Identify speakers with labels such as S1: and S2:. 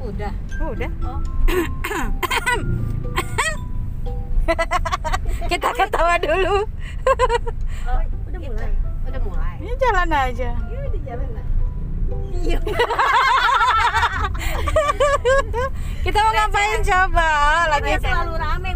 S1: Udah.
S2: Oh, udah.
S1: Oh.
S2: Kita ketawa dulu.
S1: oh,
S3: udah
S1: gitu.
S3: mulai?
S1: Udah mulai.
S2: Ini jalan aja.
S3: Iya udah jalan lah.
S1: Iya.
S2: Kita mau ngapain coba? Lagi
S3: Karena selalu rame